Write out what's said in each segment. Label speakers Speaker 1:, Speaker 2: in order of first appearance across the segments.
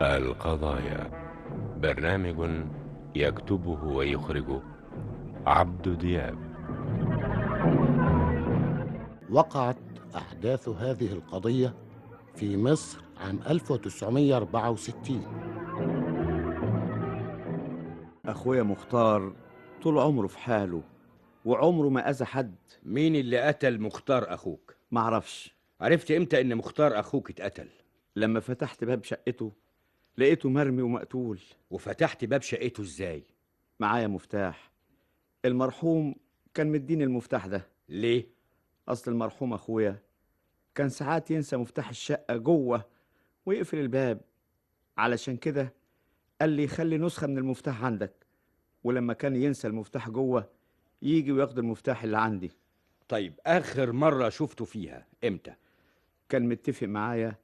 Speaker 1: القضايا برنامج يكتبه ويخرجه عبد دياب
Speaker 2: وقعت أحداث هذه القضية في مصر عام 1964
Speaker 3: أخويا مختار طول عمره في حاله وعمره ما أذى حد
Speaker 4: مين اللي قتل مختار اخوك
Speaker 3: معرفش
Speaker 4: عرفت امتى ان مختار اخوك اتقتل
Speaker 3: لما فتحت باب شقته لقيته مرمي ومقتول
Speaker 4: وفتحت باب شقته ازاي
Speaker 3: معايا مفتاح المرحوم كان مديني المفتاح ده
Speaker 4: ليه
Speaker 3: أصل المرحوم أخويا كان ساعات ينسى مفتاح الشقة جوه ويقفل الباب علشان كده قال لي خلي نسخة من المفتاح عندك ولما كان ينسى المفتاح جوه يجي وياخد المفتاح اللي عندي
Speaker 4: طيب اخر مره شفته فيها امتى
Speaker 3: كان متفق معايا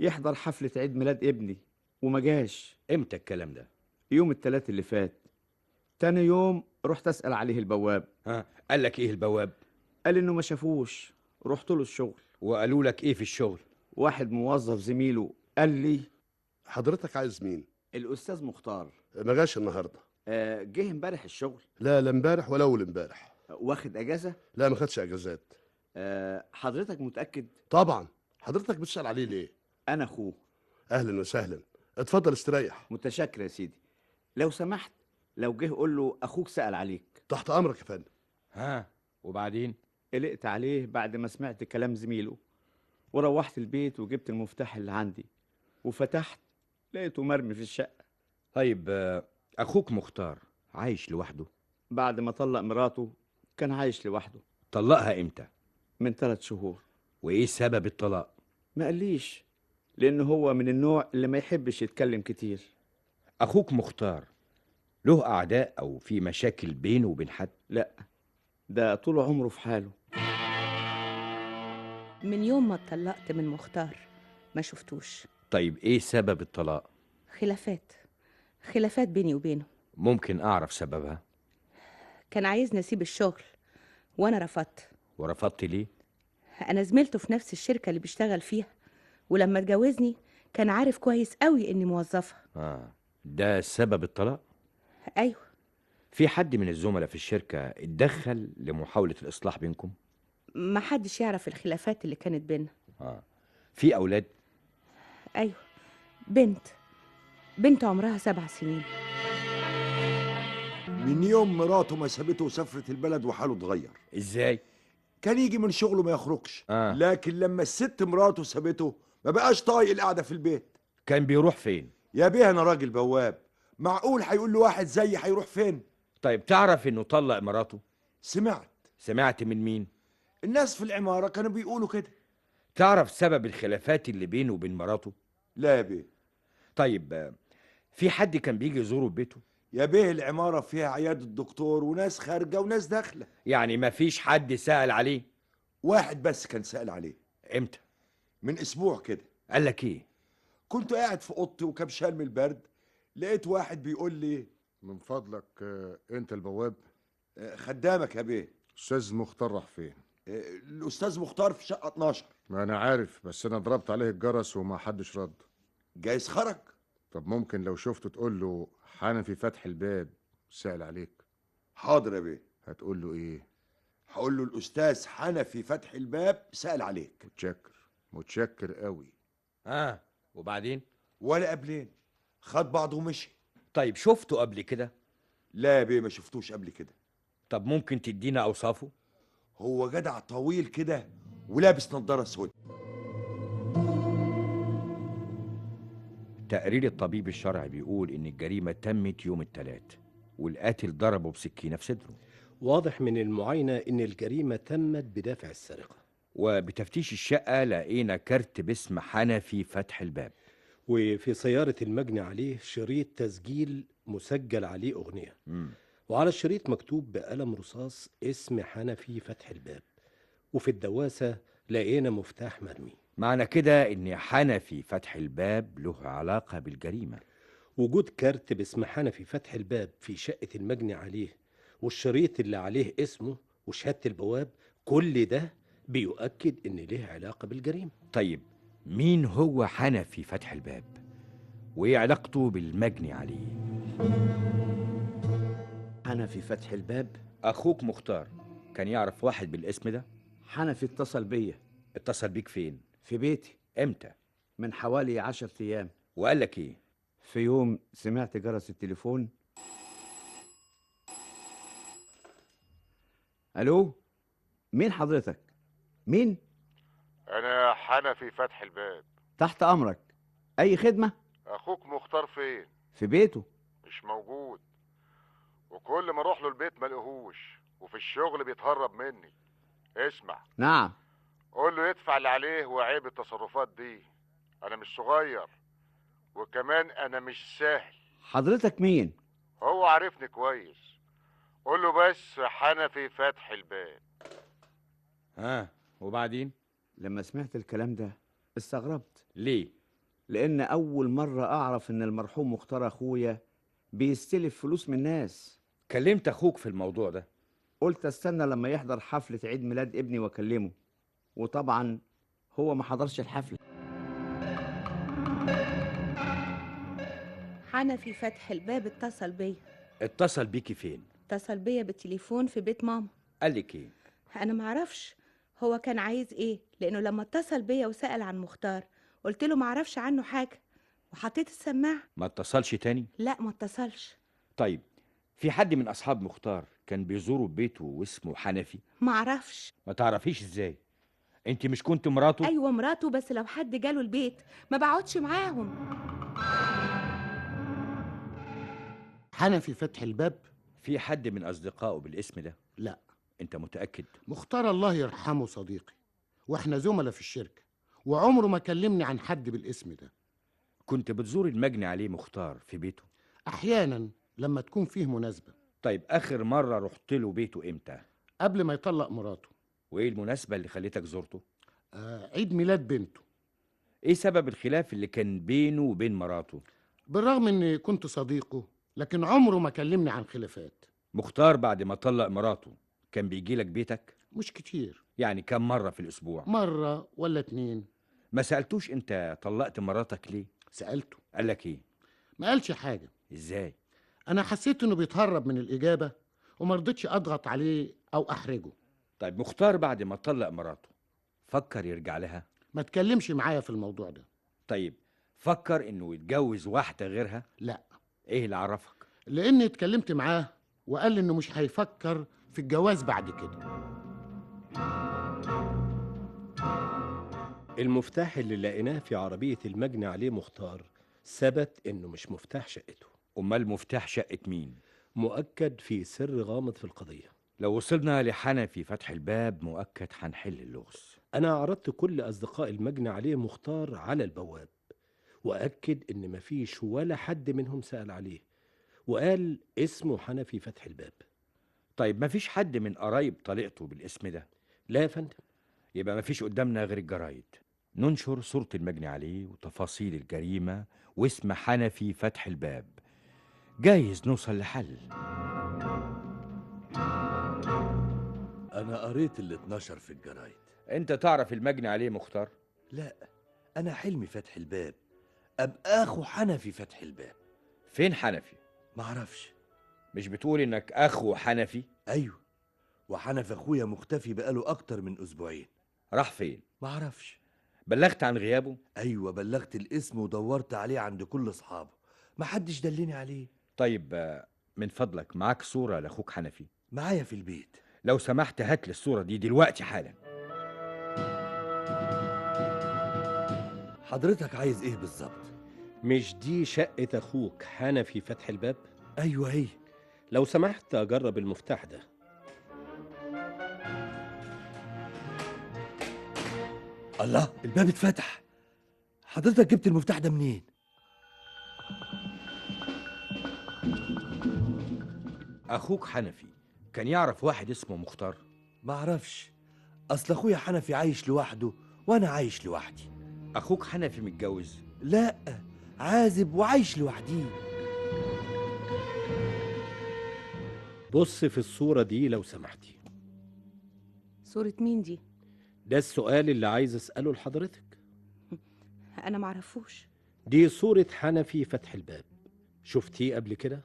Speaker 3: يحضر حفلة عيد ميلاد ابني وما جاش
Speaker 4: امتى الكلام ده
Speaker 3: يوم التلات اللي فات تاني يوم رحت أسأل عليه البواب
Speaker 4: ها قال لك ايه البواب
Speaker 3: قال إنه ما شافوش رحت له الشغل
Speaker 4: وقالوا لك ايه في الشغل
Speaker 3: واحد موظف زميله قال لي
Speaker 5: حضرتك عايز مين؟
Speaker 3: الأستاذ مختار
Speaker 5: ما جاش النهارده
Speaker 3: آه، جه امبارح الشغل
Speaker 5: لا لا امبارح ولا اول امبارح
Speaker 3: واخد اجازه
Speaker 5: لا ما خدش اجازات
Speaker 3: آه، حضرتك متاكد
Speaker 5: طبعا حضرتك بتسال عليه ليه؟
Speaker 3: انا اخوه
Speaker 5: اهلا وسهلا اتفضل استريح
Speaker 3: متشكر يا سيدي لو سمحت لو جه قول له اخوك سال عليك
Speaker 5: تحت امرك يا فندم
Speaker 4: ها وبعدين
Speaker 3: قلقت عليه بعد ما سمعت كلام زميله وروحت البيت وجبت المفتاح اللي عندي وفتحت لقيته مرمي في الشقه
Speaker 4: طيب آه، اخوك مختار عايش لوحده
Speaker 3: بعد ما طلق مراته كان عايش لوحده
Speaker 4: طلقها امتى
Speaker 3: من ثلاث شهور
Speaker 4: وايه سبب الطلاق
Speaker 3: ما قاليش لان هو من النوع اللي ما يحبش يتكلم كتير
Speaker 4: اخوك مختار له اعداء او في مشاكل بينه وبين حد
Speaker 3: ده طول عمره في حاله
Speaker 6: من يوم ما اتطلقت من مختار ما شفتوش
Speaker 4: طيب ايه سبب الطلاق
Speaker 6: خلافات خلافات بيني وبينه
Speaker 4: ممكن اعرف سببها
Speaker 6: كان عايزني اسيب الشغل وانا رفضت
Speaker 4: ورفضت ليه
Speaker 6: انا زميلته في نفس الشركه اللي بيشتغل فيها ولما اتجوزني كان عارف كويس قوي اني موظفه
Speaker 4: اه ده سبب الطلاق
Speaker 6: ايوه
Speaker 4: في حد من الزملاء في الشركة اتدخل لمحاولة الإصلاح بينكم؟
Speaker 6: ما حدش يعرف الخلافات اللي كانت بينا
Speaker 4: آه. في أولاد؟
Speaker 6: ايوه بنت بنت عمرها سبع سنين
Speaker 7: من يوم مراته ما سابته وسافرت البلد وحاله اتغير
Speaker 4: إزاي؟
Speaker 7: كان يجي من شغله ما يخرجش
Speaker 4: آه.
Speaker 7: لكن لما الست مراته سابته ما بقاش طايق القعده في البيت
Speaker 4: كان بيروح فين؟
Speaker 7: يا بيه انا راجل بواب معقول هيقول له واحد زيي هيروح فين
Speaker 4: طيب تعرف إنه طلق مراته؟
Speaker 7: سمعت
Speaker 4: سمعت من مين؟
Speaker 7: الناس في العماره كانوا بيقولوا كده
Speaker 4: تعرف سبب الخلافات اللي بينه وبين مراته؟
Speaker 7: لا يا بيه
Speaker 4: طيب آه، في حد كان بيجي يزوره في بيته؟
Speaker 7: يا بيه العماره فيها عياده الدكتور وناس خارجه وناس داخله
Speaker 4: يعني ما فيش حد سأل عليه؟
Speaker 7: واحد بس كان سأل عليه
Speaker 4: إمتى؟
Speaker 7: من اسبوع كده
Speaker 4: قال لك إيه؟
Speaker 7: كنت قاعد في اوضتي وكبشان من البرد لقيت واحد بيقول لي
Speaker 8: من فضلك آه، انت البواب
Speaker 7: آه، خدامك يا بيه
Speaker 8: استاذ مختار راح فين
Speaker 7: آه، الاستاذ مختار في شقه 12
Speaker 8: ما انا عارف بس انا ضربت عليه الجرس وما حدش رد
Speaker 7: جايز خرج
Speaker 8: طب ممكن لو شفته تقول له حنفي فتح الباب سأل عليك
Speaker 7: حاضر يا بيه
Speaker 8: هتقول له ايه
Speaker 7: هقول له الاستاذ حنفي فتح الباب سأل عليك
Speaker 8: متشكر متشكر قوي
Speaker 4: آه وبعدين؟
Speaker 7: ولا قبلين خد بعضه ومشي
Speaker 4: طيب شفته قبل كده؟
Speaker 7: لا يا بيه ما شفتوش قبل كده
Speaker 4: طب ممكن تدينا أوصافه؟
Speaker 7: هو جدع طويل كده ولابس نظاره سود
Speaker 4: تقرير الطبيب الشرعي بيقول إن الجريمة تمت يوم التلات والقاتل ضربه بسكينة في صدره
Speaker 9: واضح من المعاينة إن الجريمة تمت بدافع السرقة
Speaker 4: وبتفتيش الشقة لقينا كارت باسم حنفي فتح الباب
Speaker 9: وفي سيارة المجني عليه شريط تسجيل مسجل عليه أغنية
Speaker 4: مم.
Speaker 9: وعلى الشريط مكتوب بقلم رصاص اسم حنفي فتح الباب وفي الدواسة لقينا مفتاح مرمي
Speaker 4: معنى كده إن حنفي فتح الباب له علاقة بالجريمة
Speaker 9: وجود كارت باسم حنفي فتح الباب في شقة المجني عليه والشريط اللي عليه اسمه وشهادة البواب كل ده بيؤكد إن ليه علاقة بالجريمة
Speaker 4: طيب مين هو حنفي فتح الباب وايه علاقته بالمجني عليه
Speaker 3: حنفي فتح الباب
Speaker 4: اخوك مختار كان يعرف واحد بالاسم ده
Speaker 3: حنفي اتصل بيا
Speaker 4: اتصل بيك فين
Speaker 3: في بيتي
Speaker 4: امتى
Speaker 3: من حوالي عشر أيام
Speaker 4: وقال لك ايه
Speaker 3: في يوم سمعت جرس التليفون ألو مين حضرتك؟ مين؟
Speaker 10: أنا حنفي فتح الباب
Speaker 3: تحت أمرك أي خدمة؟
Speaker 10: أخوك مختار فين؟
Speaker 3: في بيته
Speaker 10: مش موجود وكل ما أروح له البيت ما لقيهوش وفي الشغل بيتهرب مني اسمع
Speaker 3: نعم
Speaker 10: قول له يدفع اللي عليه وعيب التصرفات دي أنا مش صغير وكمان أنا مش سهل
Speaker 3: حضرتك مين؟
Speaker 10: هو عارفني كويس قول له بس حنفي فتح الباب
Speaker 4: ها وبعدين
Speaker 3: لما سمعت الكلام ده استغربت
Speaker 4: ليه
Speaker 3: لأن أول مرة أعرف إن المرحوم مختار أخويا بيستلف فلوس من الناس
Speaker 4: كلمت اخوك في الموضوع ده
Speaker 3: قلت استنى لما يحضر حفلة عيد ميلاد ابني واكلمه وطبعا هو ما حضرش الحفلة
Speaker 6: حنفي فتح الباب اتصل بيا
Speaker 4: اتصل بيكي فين
Speaker 6: اتصل بيا بالتليفون في بيت ماما
Speaker 4: قال لك ايه
Speaker 6: انا معرفش هو كان عايز ايه لانه لما اتصل بيا وسأل عن مختار قلت له معرفش عنه حاجة وحطيت السماعة
Speaker 4: ما اتصلش تاني
Speaker 6: لا ما اتصلش
Speaker 4: طيب في حد من اصحاب مختار كان بيزوره بيته واسمه حنفي
Speaker 6: معرفش
Speaker 4: ما تعرفيش ازاي انت مش كنت مراته
Speaker 6: ايوه مراته بس لو حد جاله البيت ما بقعدش معاهم
Speaker 2: حنفي فتح الباب
Speaker 4: في حد من اصدقائه بالاسم ده
Speaker 2: لا.
Speaker 4: انت متاكد
Speaker 2: مختار الله يرحمه صديقي واحنا زملاء في الشركة وعمره ما كلمني عن حد بالاسم ده
Speaker 4: كنت بتزور المجني عليه مختار في بيته
Speaker 2: أحيانا لما تكون فيه مناسبة
Speaker 4: طيب اخر مره رحت له بيته امتى
Speaker 2: قبل ما يطلق مراته
Speaker 4: وايه المناسبه اللي خلتك زرته
Speaker 2: آه عيد ميلاد بنته
Speaker 4: ايه سبب الخلاف اللي كان بينه وبين مراته
Speaker 2: بالرغم إني كنت صديقه لكن عمره ما كلمني عن خلافات
Speaker 4: مختار بعد ما طلق مراته كان بيجي لك بيتك
Speaker 2: مش كتير
Speaker 4: يعني كم مره في الاسبوع
Speaker 2: مرة ولا اتنين
Speaker 4: ما سالتوش انت طلقت مراتك ليه
Speaker 2: سألته
Speaker 4: قال لك ايه
Speaker 2: ما قالش حاجة
Speaker 4: ازاي
Speaker 2: أنا حسيت إنه بيتهرب من الإجابة وما رضيتش أضغط عليه أو أحرجه
Speaker 4: طيب مختار بعد ما طلق مراته فكر يرجع لها
Speaker 2: ما تكلمش معايا في الموضوع ده
Speaker 4: طيب فكر انه يتجوز واحده غيرها
Speaker 2: لا.
Speaker 4: ايه اللي عرفك
Speaker 2: لأني اتكلمت معاه وقال لي إنه مش هيفكر في الجواز بعد كده
Speaker 9: المفتاح اللي لقيناه في عربية المجني عليه مختار ثبت إنه مش مفتاح شقته
Speaker 4: امال مفتاح شقه مين
Speaker 9: مؤكد في سر غامض في القضية
Speaker 4: لو وصلنا لحنفي فتح الباب مؤكد هنحل اللغز
Speaker 9: أنا عرضت كل أصدقاء المجني عليه مختار على البواب وأكد إن مفيش ولا حد منهم سأل عليه وقال اسمه حنفي فتح الباب
Speaker 4: طيب مفيش حد من قرايب طليقته بالاسم ده
Speaker 9: لا يا فندم
Speaker 4: يبقى مفيش قدامنا غير الجرايد ننشر صورة المجني عليه وتفاصيل الجريمة واسم حنفي فتح الباب جايز نوصل لحل
Speaker 10: أنا قريت اللي اتنشر في الجرايد
Speaker 4: انت تعرف المجني عليه مختار
Speaker 10: لا أنا حلمي فتح الباب أبقى أخو حنفي فتح الباب
Speaker 4: فين حنفي
Speaker 10: معرفش
Speaker 4: مش بتقول انك اخو حنفي
Speaker 10: أيوه وحنفي أخويا مختفي بقاله أكتر من أسبوعين
Speaker 4: راح فين
Speaker 10: معرفش
Speaker 4: بلغت عن غيابه
Speaker 10: أيوه بلغت الاسم ودورت عليه عند كل أصحابه محدش دلني عليه
Speaker 4: طيب آه، من فضلك معاك صورة لاخوك حنفي
Speaker 10: معايا في البيت
Speaker 4: لو سمحت هات لي الصورة دي دلوقتي حالا
Speaker 10: حضرتك عايز إيه بالظبط؟
Speaker 9: مش دي شقة أخوك حنفي فتح الباب
Speaker 10: أيوه
Speaker 7: أيوة،
Speaker 10: هي
Speaker 9: لو سمحت أجرب المفتاح ده
Speaker 10: الله الباب اتفتح حضرتك جبت المفتاح ده منين؟
Speaker 4: اخوك حنفي كان يعرف واحد اسمه مختار
Speaker 10: معرفش أصل أخويا حنفي عايش لوحده وأنا عايش لوحدي
Speaker 4: اخوك حنفي متجوز
Speaker 10: لا عازب وعايش لوحدي
Speaker 9: بص في الصورة دي لو سمحتي
Speaker 6: صورة مين دي
Speaker 9: ده السؤال اللي عايز أسأله لحضرتك
Speaker 6: انا معرفوش
Speaker 9: دي صورة حنفي فتح الباب شفتيه قبل كده؟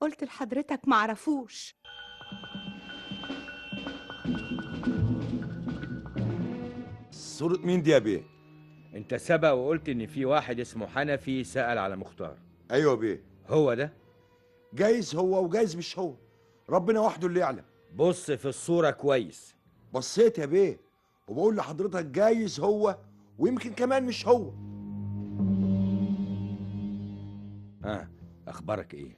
Speaker 6: قلت لحضرتك معرفوش
Speaker 4: صورة مين دي يا بيه؟ انت سبق وقلت ان في واحد اسمه حنفي سأل على مختار
Speaker 7: ايوه يا بيه
Speaker 4: هو ده؟
Speaker 7: جايز هو وجايز مش هو ربنا وحده اللي يعلم
Speaker 4: بص في الصورة كويس
Speaker 7: بصيت يا بيه وبقول لحضرتك جايز هو ويمكن كمان مش هو
Speaker 4: ها اخبارك ايه؟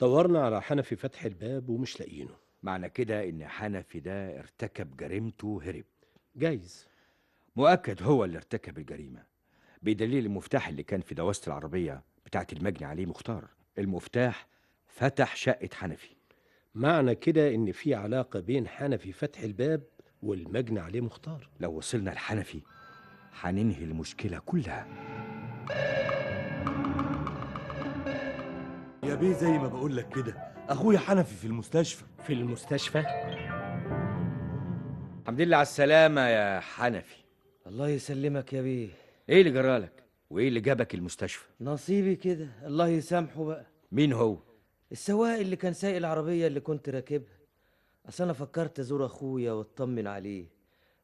Speaker 9: دورنا على حنفي فتح الباب ومش لاقيينه
Speaker 4: معنى كده ان حنفي ده ارتكب جريمته وهرب
Speaker 9: جايز
Speaker 4: مؤكد هو اللي ارتكب الجريمة بدليل المفتاح اللي كان في دواسة العربية بتاعت المجني عليه مختار المفتاح فتح شقة حنفي
Speaker 9: معنى كده ان في علاقة بين حنفي فتح الباب والمجني عليه مختار
Speaker 4: لو وصلنا لحنفي هننهي المشكلة كلها
Speaker 11: يا بيه زي ما بقول لك كده اخويا حنفي في المستشفى
Speaker 9: في المستشفى
Speaker 4: الحمد لله على السلامة يا حنفي
Speaker 12: الله يسلمك يا بيه
Speaker 4: ايه اللي جرالك وايه اللي جابك المستشفى
Speaker 12: نصيبي كده الله يسامحه بقى
Speaker 4: مين هو
Speaker 12: السواق اللي كان سايق العربية اللي كنت راكبها أصل أنا فكرت أزور أخويا وأطمن عليه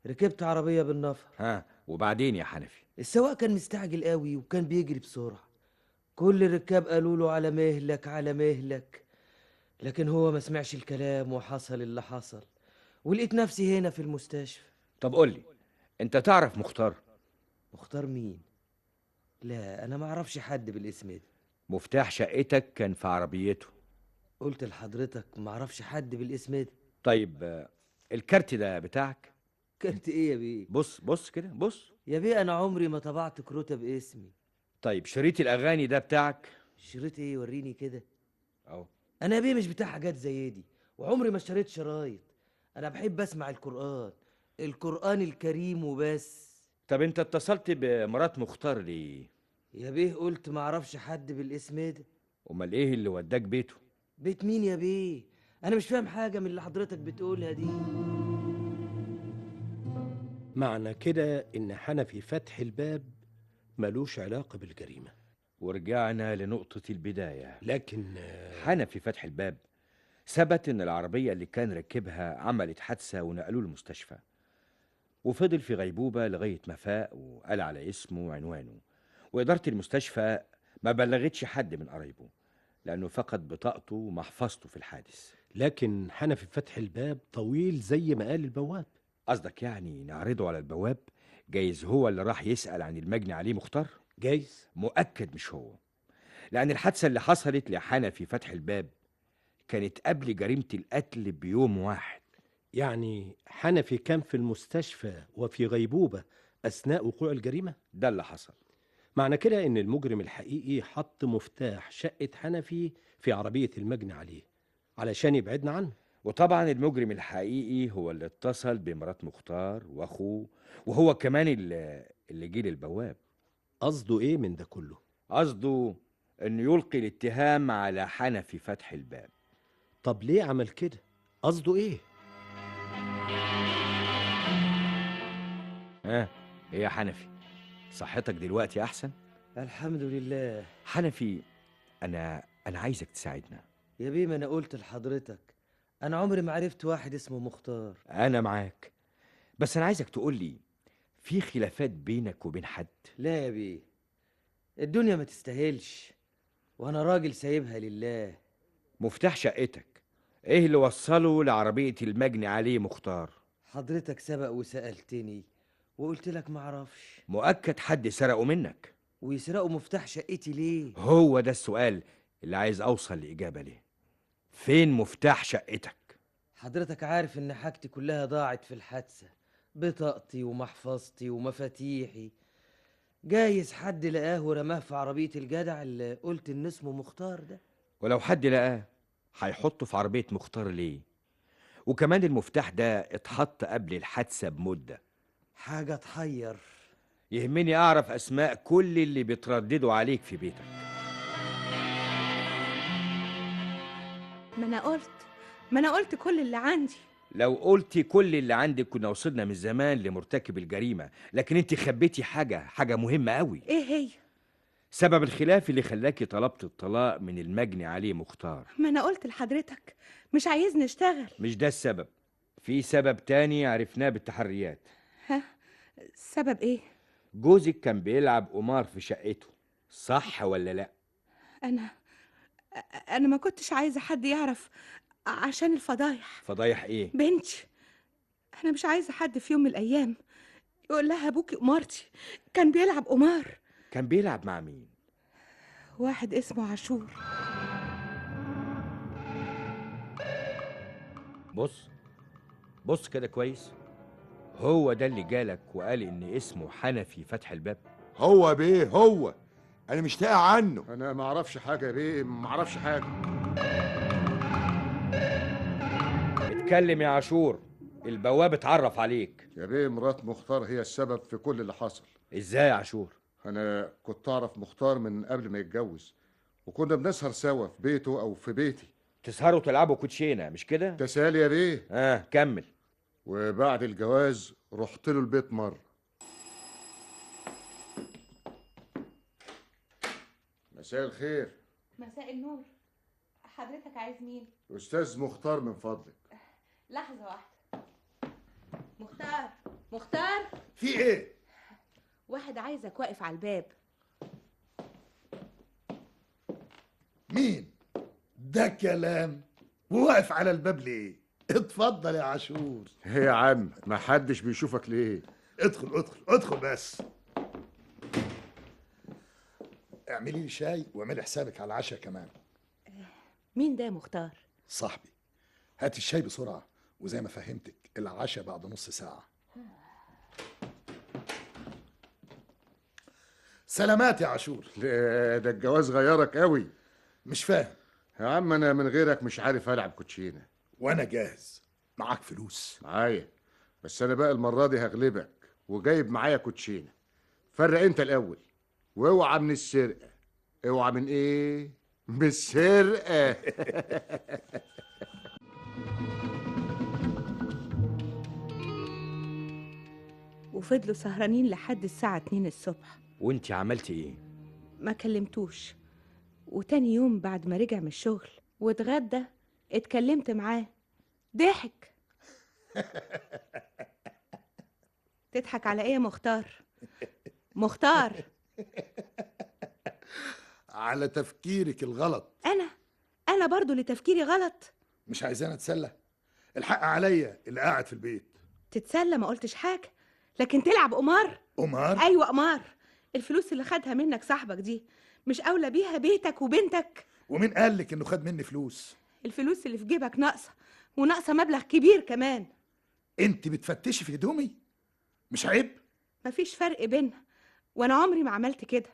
Speaker 12: ركبت عربية بالنفر
Speaker 4: ها وبعدين يا حنفي
Speaker 12: السواق كان مستعجل قوي وكان بيجري بسرعة كل الركاب قالوا له على مهلك على مهلك لكن هو ما سمعش الكلام وحصل اللي حصل ولقيت نفسي هنا في المستشفى
Speaker 4: طب قول لي انت تعرف مختار
Speaker 12: مختار مين لا انا ما اعرفش حد بالاسم ده
Speaker 4: مفتاح شقتك كان في عربيته
Speaker 12: قلت لحضرتك ما اعرفش حد بالاسم ده
Speaker 4: طيب آه، الكارت ده بتاعك
Speaker 12: كارت ايه يا بيه
Speaker 4: بص بص كده بص
Speaker 12: يا بيه انا عمري ما طبعت كروته باسمي
Speaker 4: طيب شريط الاغاني ده بتاعك
Speaker 12: شريط ايه وريني كده
Speaker 4: اهو
Speaker 12: انا يا بيه مش بتاع حاجات زي دي وعمري ما اشتريت شرايط انا بحب اسمع القران القران الكريم وبس
Speaker 4: طب انت اتصلت بمرات مختار ليه
Speaker 12: يا بيه قلت ما اعرفش حد بالاسم ده
Speaker 4: امال ايه اللي وداك بيته
Speaker 12: بيت مين يا بيه انا مش فاهم حاجه من اللي حضرتك بتقولها دي
Speaker 9: معنى كده ان حنفي فتح الباب ملوش علاقة بالجريمة
Speaker 4: ورجعنا لنقطة البداية
Speaker 9: لكن آه،
Speaker 4: حنفي فتح الباب ثبت ان العربية اللي كان راكبها عملت حادثة ونقلوه المستشفى وفضل في غيبوبة لغاية ما فاق وقال على اسمه وعنوانه وإدارة المستشفى ما بلغتش حد من قرايبه لأنه فقد بطاقته ومحفظته في الحادث
Speaker 9: لكن حنفي فتح الباب طويل زي ما قال البواب
Speaker 4: قصدك يعني نعرضه على البواب جايز هو اللي راح يسأل عن المجني عليه مختار
Speaker 9: جايز
Speaker 4: مؤكد مش هو لأن الحادثة اللي حصلت لحنفي فتح الباب كانت قبل جريمة القتل بيوم واحد
Speaker 9: يعني حنفي كان في المستشفى وفي غيبوبة أثناء وقوع الجريمة
Speaker 4: ده اللي حصل
Speaker 9: معنى كده إن المجرم الحقيقي حط مفتاح شقة حنفي في عربية المجني عليه علشان يبعدنا عنه
Speaker 4: وطبعا المجرم الحقيقي هو اللي اتصل بمرات مختار واخوه وهو كمان اللي, اللي جه للبواب
Speaker 9: قصده إيه من ده كله؟
Speaker 4: قصده انه يلقي الاتهام على حنفي فتح الباب
Speaker 9: طب ليه عمل كده؟ قصده إيه؟
Speaker 4: ها ايه يا حنفي صحتك دلوقتي احسن
Speaker 12: الحمد لله
Speaker 4: حنفي انا انا عايزك تساعدنا
Speaker 12: يا بيه ما انا قلت لحضرتك انا عمري ما عرفت واحد اسمه مختار
Speaker 4: انا معاك بس انا عايزك تقول لي في خلافات بينك وبين حد
Speaker 12: لا يا بيه الدنيا ما تستاهلش وانا راجل سايبها لله
Speaker 4: مفتاح شقتك ايه اللي وصله لعربية المجني عليه مختار
Speaker 12: حضرتك سبق وسألتني وقلت لك معرفش
Speaker 4: مؤكد حد سرقه منك
Speaker 12: ويسرقوا مفتاح شقتي ليه
Speaker 4: هو ده السؤال اللي عايز اوصل لإجابة ليه فين مفتاح شقتك
Speaker 12: حضرتك عارف ان حاجتي كلها ضاعت في الحادثة بطاقتي ومحفظتي ومفاتيحي جايز حد لقاه ورماه في عربية الجدع اللي قلت ان اسمه مختار ده
Speaker 4: ولو حد لقاه هيحطه في عربية مختار ليه وكمان المفتاح ده اتحط قبل الحادثة بمدة
Speaker 12: حاجة تحير
Speaker 4: يهمني أعرف أسماء كل اللي بيترددوا عليك في بيتك
Speaker 6: ما انا قلت ما انا قلت كل اللي عندي
Speaker 4: لو قلتي كل اللي عندك كنا وصلنا من زمان لمرتكب الجريمة لكن انت خبيتي حاجة حاجة مهمة قوي
Speaker 6: ايه إيه هي
Speaker 4: سبب الخلاف اللي خلاكي طلبت الطلاق من المجني عليه مختار
Speaker 6: ما انا قلت لحضرتك مش عايزني اشتغل
Speaker 4: مش ده السبب في سبب تاني عرفناه بالتحريات
Speaker 6: ها السبب ايه
Speaker 4: جوزك كان بيلعب قمار في شقته صح ولا لا
Speaker 6: انا انا ما كنتش عايزه حد يعرف عشان الفضايح
Speaker 4: فضايح ايه
Speaker 6: بنتي انا مش عايزه حد في يوم من الايام يقول لها ابوكي قمارتي كان بيلعب قمار
Speaker 4: كان بيلعب مع مين
Speaker 6: واحد اسمه عاشور
Speaker 4: بص بص كده كويس هو ده اللي جالك وقال ان اسمه حنفي فتح الباب
Speaker 7: هو يا بيه هو انا مش لاقي عنه
Speaker 8: انا ما اعرفش حاجه يا بيه ما اعرفش حاجه
Speaker 4: اتكلم يا عاشور البواب اتعرف عليك
Speaker 8: يا بيه مرات مختار هي السبب في كل اللي حصل
Speaker 4: ازاي يا عاشور
Speaker 8: انا كنت اعرف مختار من قبل ما يتجوز وكنا بنسهر سوا في بيته او في بيتي
Speaker 4: تسهروا تلعبوا كوتشينه مش كده
Speaker 8: تسالي يا بيه
Speaker 4: اه كمل
Speaker 8: وبعد الجواز رحت له البيت مره مساء الخير
Speaker 6: مساء النور حضرتك عايز مين
Speaker 8: استاذ مختار من فضلك
Speaker 6: لحظه واحده مختار مختار
Speaker 7: في
Speaker 8: إيه؟
Speaker 7: ايه
Speaker 6: واحد عايزك واقف على الباب
Speaker 5: مين ده كلام وواقف على الباب ليه اتفضل يا عاشور
Speaker 8: ايه يا عم ما حدش بيشوفك ليه
Speaker 5: ادخل ادخل ادخل بس اعملي لي شاي واعملي حسابك على العشاء كمان
Speaker 6: مين ده يا مختار
Speaker 5: صاحبي هات الشاي بسرعه وزي ما فهمتك العشاء بعد نص ساعه سلامات يا عاشور
Speaker 8: لا، ده الجواز غيرك قوي
Speaker 5: مش فاهم
Speaker 8: يا عم انا من غيرك مش عارف العب كوتشينه
Speaker 5: وانا جاهز معاك فلوس
Speaker 8: معايا بس انا بقى المره دي هغلبك وجايب معايا كوتشينه فرق انت الاول واوعى من السرقه اوعى من ايه من السرقه
Speaker 6: وفضلوا سهرانين لحد الساعه 2 الصبح
Speaker 4: وانت عملتي ايه
Speaker 6: ما كلمتوش وتاني يوم بعد ما رجع من الشغل واتغدى اتكلمت معاه ضحك تضحك على ايه يا مختار مختار
Speaker 5: على تفكيرك الغلط
Speaker 6: انا انا برضو اللي تفكيري غلط
Speaker 5: مش عايزاني اتسلى الحق عليا اللي قاعد في البيت
Speaker 6: تتسلى ما قلتش حاجه لكن تلعب قمار
Speaker 5: قمار
Speaker 6: ايوه قمار الفلوس اللي خدها منك صاحبك دي مش اولى بيها بيتك وبنتك
Speaker 5: ومين قال لك انه خد مني فلوس
Speaker 6: الفلوس اللي في جيبك ناقصه وناقصه مبلغ كبير كمان
Speaker 5: انت بتفتشي في هدومي مش عيب
Speaker 6: مفيش فرق بينا وانا عمري ما عملت كده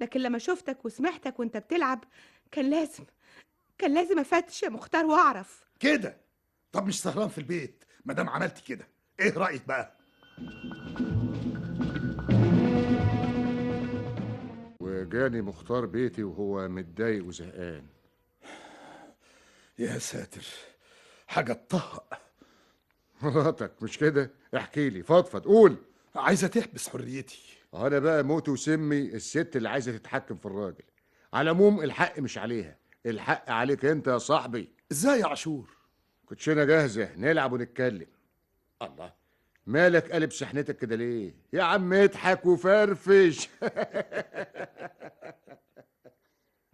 Speaker 6: لكن لما شفتك وسمعتك وانت بتلعب كان لازم كان لازم افتش يا مختار واعرف
Speaker 5: كده طب مش سهران في البيت ما دام عملت كده ايه رايك بقى
Speaker 8: وجاني مختار بيتي وهو متضايق وزهقان
Speaker 5: يا ساتر حاجه تطهق
Speaker 8: مراتك مش كده احكي لي فضفض قول
Speaker 5: عايزه تحبس حريتي
Speaker 8: انا بقى موت وسمي الست اللي عايزه تتحكم في الراجل على العموم الحق مش عليها الحق عليك انت يا صاحبي
Speaker 5: ازاي يا عاشور
Speaker 8: كوتشينه جاهزه نلعب ونتكلم الله مالك قلب شحنتك كده ليه يا عم اضحك وفرفش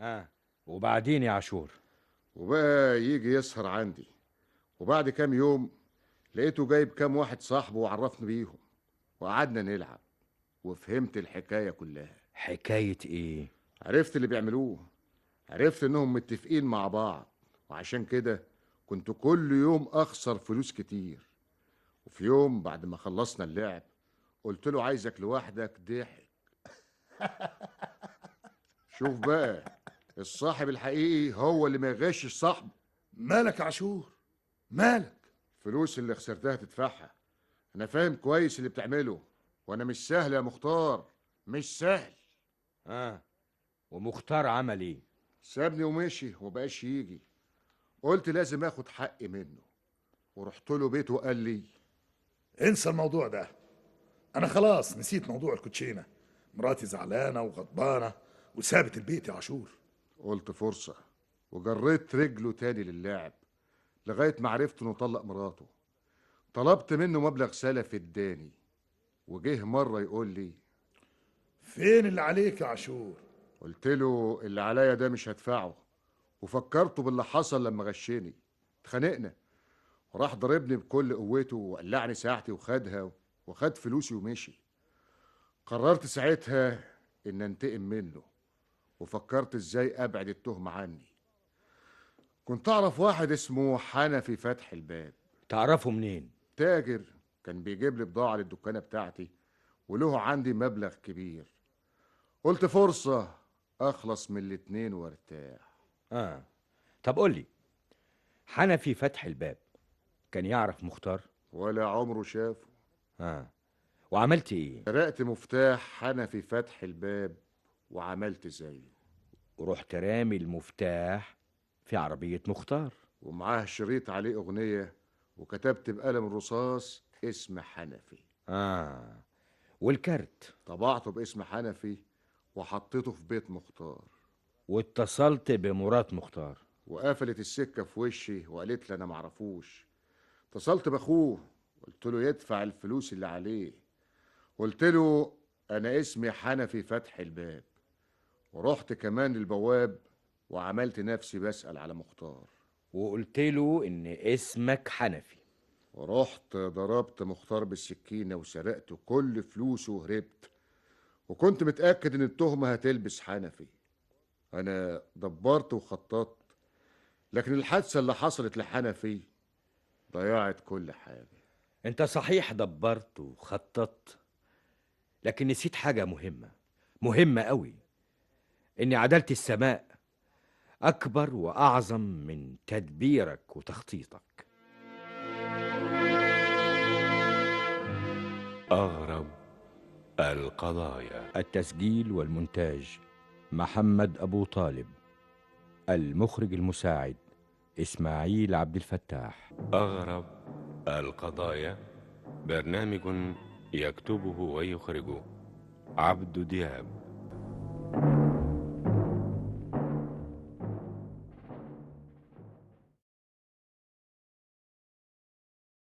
Speaker 4: اه وبعدين يا عاشور
Speaker 8: وبقى يجي يسهر عندي وبعد كام يوم لقيته جايب كام واحد صاحبه وعرفني بيهم وقعدنا نلعب وفهمت الحكاية كلها
Speaker 4: حكايه ايه
Speaker 8: عرفت اللي بيعملوه عرفت انهم متفقين مع بعض وعشان كده كنت كل يوم اخسر فلوس كتير وفي يوم بعد ما خلصنا اللعب قلت له عايزك لوحدك ضحك شوف بقى الصاحب الحقيقي هو اللي ما يغشش صاحبه
Speaker 5: مالك يا عاشور مالك
Speaker 8: الفلوس اللي خسرتها تدفعها انا فاهم كويس اللي بتعمله وانا مش سهل يا مختار مش سهل
Speaker 4: اه ومختار عمل ايه
Speaker 8: سابني ومشي ومبقاش يجي قلت لازم اخد حقي منه ورحت له بيته وقال لي
Speaker 5: انسى الموضوع ده انا خلاص نسيت موضوع الكوتشينه مراتي زعلانه وغضبانه وثابت البيت يا عاشور
Speaker 8: قلت فرصة وجريت رجله تاني للاعب لغاية ما عرفت انه طلق مراته طلبت منه مبلغ سلفي اداني وجه مرة يقول لي
Speaker 5: فين اللي عليك يا عاشور
Speaker 8: قلت له اللي عليا ده مش هدفعه وفكرته باللي حصل لما غشني اتخانقنا وراح ضربني بكل قوته وقلعني ساعتي وخدها وخد فلوسي ومشي قررت ساعتها ان انتقم منه وفكرت ازاي ابعد التهمة عني كنت اعرف واحد اسمه حنفي فتح الباب
Speaker 4: تعرفه منين
Speaker 8: تاجر كان بيجيب لي بضاعة للدكانة بتاعتي وله عندي مبلغ كبير قلت فرصة أخلص من الاتنين وارتاح
Speaker 4: اه طب قول لي حنفي فتح الباب كان يعرف مختار
Speaker 8: ولا عمره شافه
Speaker 4: اه وعملت ايه
Speaker 8: سرقت مفتاح حنفي فتح الباب وعملت زيه
Speaker 4: ورحت رامي المفتاح في عربية مختار
Speaker 8: ومعاه شريط عليه أغنية وكتبت بقلم رصاص اسم حنفي
Speaker 4: اه والكارت
Speaker 8: طبعته باسم حنفي وحطيته في بيت مختار
Speaker 4: واتصلت بمرات مختار
Speaker 8: وقفلت السكة في وشي وقالت لي أنا معرفوش اتصلت بأخوه قلت له يدفع الفلوس اللي عليه قلت له أنا اسمي حنفي فتح الباب ورحت كمان للبواب وعملت نفسي بسأل على مختار
Speaker 4: وقلت له ان اسمك حنفي
Speaker 8: ورحت ضربت مختار بالسكينة وسرقت كل فلوسه وهربت وكنت متأكد إن التهمة هتلبس حنفي أنا دبرت وخططت لكن الحادثة اللي حصلت لحنفي ضيعت كل حاجة
Speaker 4: انت صحيح دبرت وخططت لكن نسيت حاجة مهمة مهمة قوي ان عدالة السماء اكبر واعظم من تدبيرك وتخطيطك
Speaker 1: أغرب القضايا
Speaker 4: التسجيل والمونتاج محمد أبو طالب المخرج المساعد إسماعيل عبد الفتاح
Speaker 1: أغرب القضايا برنامج يكتبه ويخرجه عبد دياب